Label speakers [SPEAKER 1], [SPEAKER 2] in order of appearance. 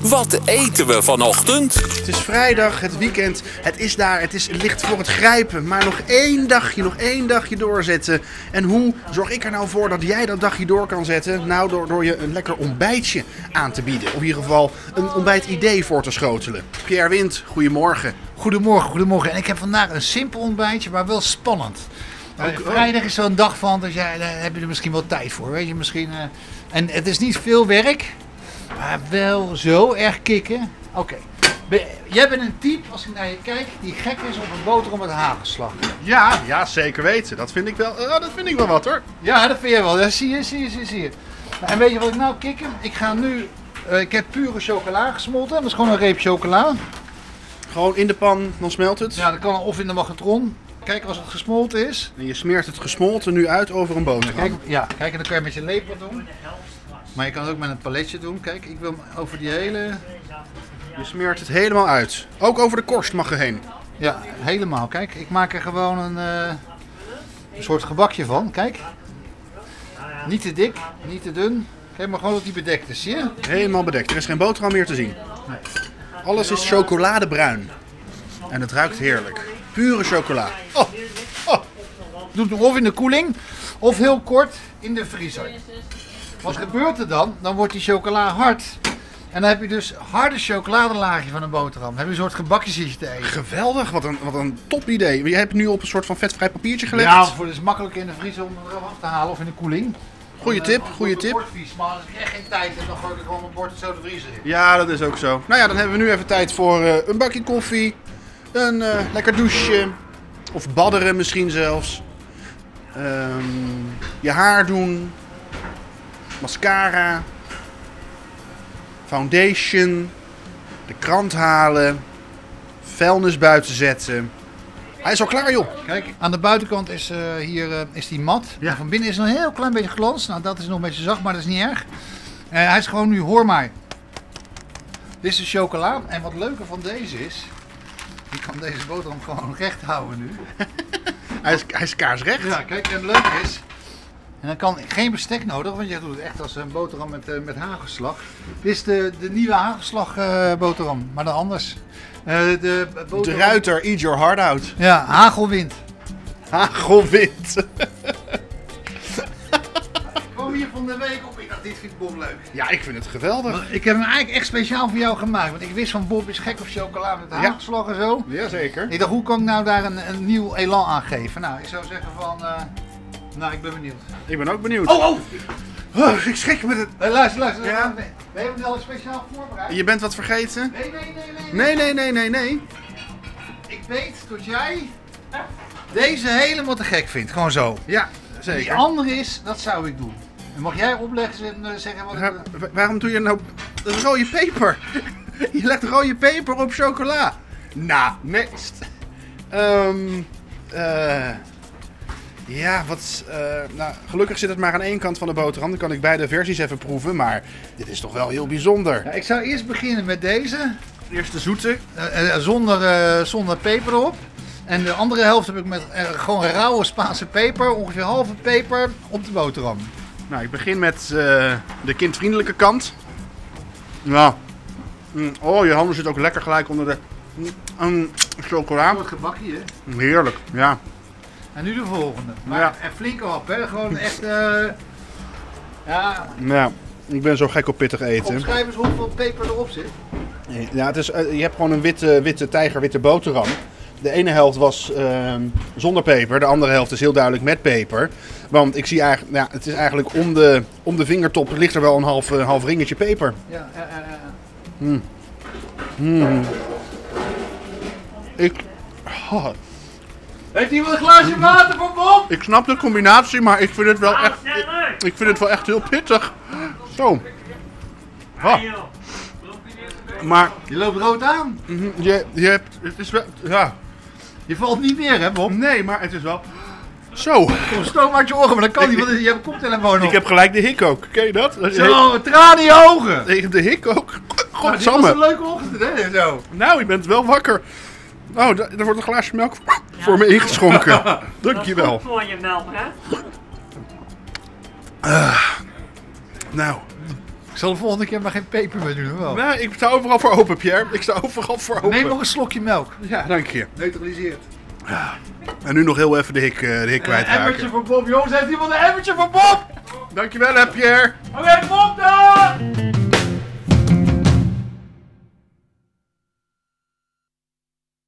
[SPEAKER 1] Wat eten we vanochtend?
[SPEAKER 2] Het is vrijdag, het weekend, het is daar, het is licht voor het grijpen. Maar nog één dagje, nog één dagje doorzetten. En hoe zorg ik er nou voor dat jij dat dagje door kan zetten? Nou, door, door je een lekker ontbijtje aan te bieden. Of in ieder geval een ontbijtidee voor te schotelen. Pierre Wind, goedemorgen.
[SPEAKER 3] Goedemorgen, goedemorgen. En ik heb vandaag een simpel ontbijtje, maar wel spannend. Eh, Vrijdag is zo'n dag van, dus ja, daar heb je er misschien wel tijd voor. Weet je, misschien, eh, en het is niet veel werk, maar wel zo erg kicken. Oké. Be- Jij bent een type, als ik naar je kijk, die gek is op een boterham met hagelslag.
[SPEAKER 2] Ja, ja, zeker weten. Dat vind ik wel, eh, dat vind ik wel wat hoor.
[SPEAKER 3] Ja, dat vind je wel. Dat zie je, zie je, zie je, zie je. En weet je wat ik nou kikken? Ik ga nu, eh, ik heb pure chocola gesmolten. Dat is gewoon een reep chocola.
[SPEAKER 2] Gewoon in de pan, dan smelt het.
[SPEAKER 3] Ja, dat kan of in de magnetron. Kijk, als het gesmolten is,
[SPEAKER 2] En je smeert het gesmolten nu uit over een
[SPEAKER 3] Kijk,
[SPEAKER 2] boterham.
[SPEAKER 3] ja, kijk, en dan kan je met je lepel doen. Maar je kan het ook met een paletje doen. Kijk, ik wil hem over die hele.
[SPEAKER 2] Je smeert het helemaal uit. Ook over de korst mag er heen.
[SPEAKER 3] Ja, helemaal. Kijk, ik maak er gewoon een, eh, een soort gebakje van. Kijk. Niet te dik, niet te dun. Kijk maar gewoon dat die bedekt is, zie je?
[SPEAKER 2] Helemaal bedekt. Er is geen boterham meer te zien. Alles is chocoladebruin. En het ruikt heerlijk. Pure chocola.
[SPEAKER 3] Oh, oh. Doe het of in de koeling, of heel kort in de vriezer. Wat gebeurt er dan? Dan wordt die chocola hard. En dan heb je dus harde chocoladelaagje van een boterham. Dan heb je een soort gebakje zitten te eten.
[SPEAKER 2] Geweldig, wat een, wat een top idee. Je hebt het nu op een soort van vetvrij papiertje gelegd.
[SPEAKER 3] Ja, voor het is makkelijk in de vriezer om eraf af te halen of in de koeling.
[SPEAKER 2] Goeie
[SPEAKER 3] Dan,
[SPEAKER 2] tip,
[SPEAKER 3] eh,
[SPEAKER 2] goeie
[SPEAKER 3] wordt het
[SPEAKER 2] tip.
[SPEAKER 3] Bordvies, maar als ik echt geen tijd heb, dan gooi ik er gewoon mijn bord zo de vriezer in.
[SPEAKER 2] Ja, dat is ook zo. Nou ja, dan hebben we nu even tijd voor eh, een bakje koffie, een eh, lekker douche of badderen misschien zelfs. Ehm, je haar doen, mascara, foundation, de krant halen, vuilnis buiten zetten. Hij is al klaar joh.
[SPEAKER 3] Kijk, aan de buitenkant is eh, hier eh, is die mat.
[SPEAKER 2] Ja.
[SPEAKER 3] Van binnen is nog een heel klein beetje glans. Nou, dat is nog een beetje zacht, maar dat is niet erg. Eh, hij is gewoon nu, hoor mij. Dit is de chocola. En wat leuker van deze is, ik kan deze boterham gewoon recht houden nu.
[SPEAKER 2] Hij is, hij is kaarsrecht.
[SPEAKER 3] Ja, kijk, en leuk is. En dan kan geen bestek nodig, want je doet het echt als een boterham met, eh, met hagelslag. Dit is de, de nieuwe hagelslag eh, boterham, maar dan anders. Eh, de, boterham-
[SPEAKER 2] De ruiter, eat your heart out.
[SPEAKER 3] Ja, hagelwind.
[SPEAKER 2] Hagelwind.
[SPEAKER 3] Ik kwam hier van de week op, ik dacht, dit vind ik Bob leuk.
[SPEAKER 2] Ja, ik vind het geweldig.
[SPEAKER 3] Ik heb hem eigenlijk echt speciaal voor jou gemaakt, want ik wist van Bob is gek op chocola met hagelslag en zo.
[SPEAKER 2] Jazeker.
[SPEAKER 3] Ik dacht, hoe kan ik nou daar een, een nieuw elan aan geven? Nou, ik zou zeggen van, eh, nou, ik ben benieuwd.
[SPEAKER 2] Ik ben ook benieuwd.
[SPEAKER 3] Oh, oh!
[SPEAKER 2] Oh, ik schrik met het.
[SPEAKER 3] Eh, luister, luister.
[SPEAKER 2] Ja?
[SPEAKER 3] We we hebben het al speciaal voorbereid.
[SPEAKER 2] Je bent wat vergeten?
[SPEAKER 3] Nee, nee, nee, nee.
[SPEAKER 2] Nee, nee, nee, nee, nee.
[SPEAKER 3] Ik weet dat jij deze helemaal te gek vindt. Gewoon zo.
[SPEAKER 2] Ja,
[SPEAKER 3] Die
[SPEAKER 2] zeker.
[SPEAKER 3] andere is, dat zou ik doen. En mag jij opleggen en eh, zeggen wat ik...
[SPEAKER 2] Wa- wa- waarom doe je nou dat rode peper?
[SPEAKER 3] eh,
[SPEAKER 2] Je legt rode peper op chocola. Nou, next. Ehm eh, ja, wat. eh, nou, gelukkig zit het maar aan één kant van de boterham. Dan kan ik beide versies even proeven. Maar dit is toch wel heel bijzonder.
[SPEAKER 3] Ja, ik zou eerst beginnen met deze.
[SPEAKER 2] Eerst de zoete.
[SPEAKER 3] eh, eh, zonder, eh, zonder peper erop. En de andere helft heb ik met eh, gewoon rauwe Spaanse peper. Ongeveer halve peper op de boterham.
[SPEAKER 2] Nou, ik begin met eh, de kindvriendelijke kant. Ja. Mm, Oh, je handen zitten ook lekker gelijk onder de mm, chocola.
[SPEAKER 3] Wordt gebakje, hè?
[SPEAKER 2] Heerlijk, ja.
[SPEAKER 3] En nu de volgende. Maar
[SPEAKER 2] Ja.
[SPEAKER 3] en flink op, hè? Gewoon echt... eh, ja,
[SPEAKER 2] Ja, ik ben zo gek op pittig eten.
[SPEAKER 3] opschrijf eens hoeveel peper erop zit.
[SPEAKER 2] Ja, het is, eh, je hebt gewoon een witte, witte tijger, witte boterham. De ene helft was ehm, zonder peper, de andere helft is heel duidelijk met peper. Want ik zie eigenlijk, ja, het is eigenlijk om de, om de vingertop ligt er wel een half, eh, half ringetje peper.
[SPEAKER 3] Ja, eh, eh, eh.
[SPEAKER 2] Ik, oh,
[SPEAKER 3] Heeft iemand een glaasje water voor Bob?
[SPEAKER 2] ik snap de combinatie, maar ik vind het wel echt, ik, ik vind het wel echt heel pittig. Zo. Ah. Maar
[SPEAKER 3] Je loopt rood aan.
[SPEAKER 2] mhm, je, je hebt, het is wel, ja.
[SPEAKER 3] Je valt niet meer, hè Bob?
[SPEAKER 2] Nee, maar het is wel, zo.
[SPEAKER 3] Kom, stoom uit je oren, maar dat kan niet, want je hebt een koptelefoon op.
[SPEAKER 2] Ik heb gelijk de hik ook. Ken je dat? Dat is-
[SPEAKER 3] Zo, tranen in je ogen.
[SPEAKER 2] Tegen de hik ook.
[SPEAKER 3] Nou, dit was een
[SPEAKER 2] Godsamme.
[SPEAKER 3] leuke ochtend, hè? Zo.
[SPEAKER 2] Nou, je bent wel wakker. Nou, da- er wordt een glaasje melk voor me ingeschonken. Dankjewel.
[SPEAKER 4] Dat is goed voor je melk, hè?
[SPEAKER 2] Nou,
[SPEAKER 3] Ik zal de volgende keer maar geen peper meer doen, hoor.
[SPEAKER 2] Nou, ik sta overal voor open, Pierre. Ik sta overal voor open.
[SPEAKER 3] Neem nog een slokje melk.
[SPEAKER 2] Ja, dank je.
[SPEAKER 3] Neutraliseert.
[SPEAKER 2] En nu nog heel even de hik, eh, de hik
[SPEAKER 3] Een
[SPEAKER 2] kwijtraken.
[SPEAKER 3] emmertje voor Bob. Jongens, heeft iemand een emmertje voor Bob?
[SPEAKER 2] Dankjewel, hè, Pierre.
[SPEAKER 3] Oké, Bob dan!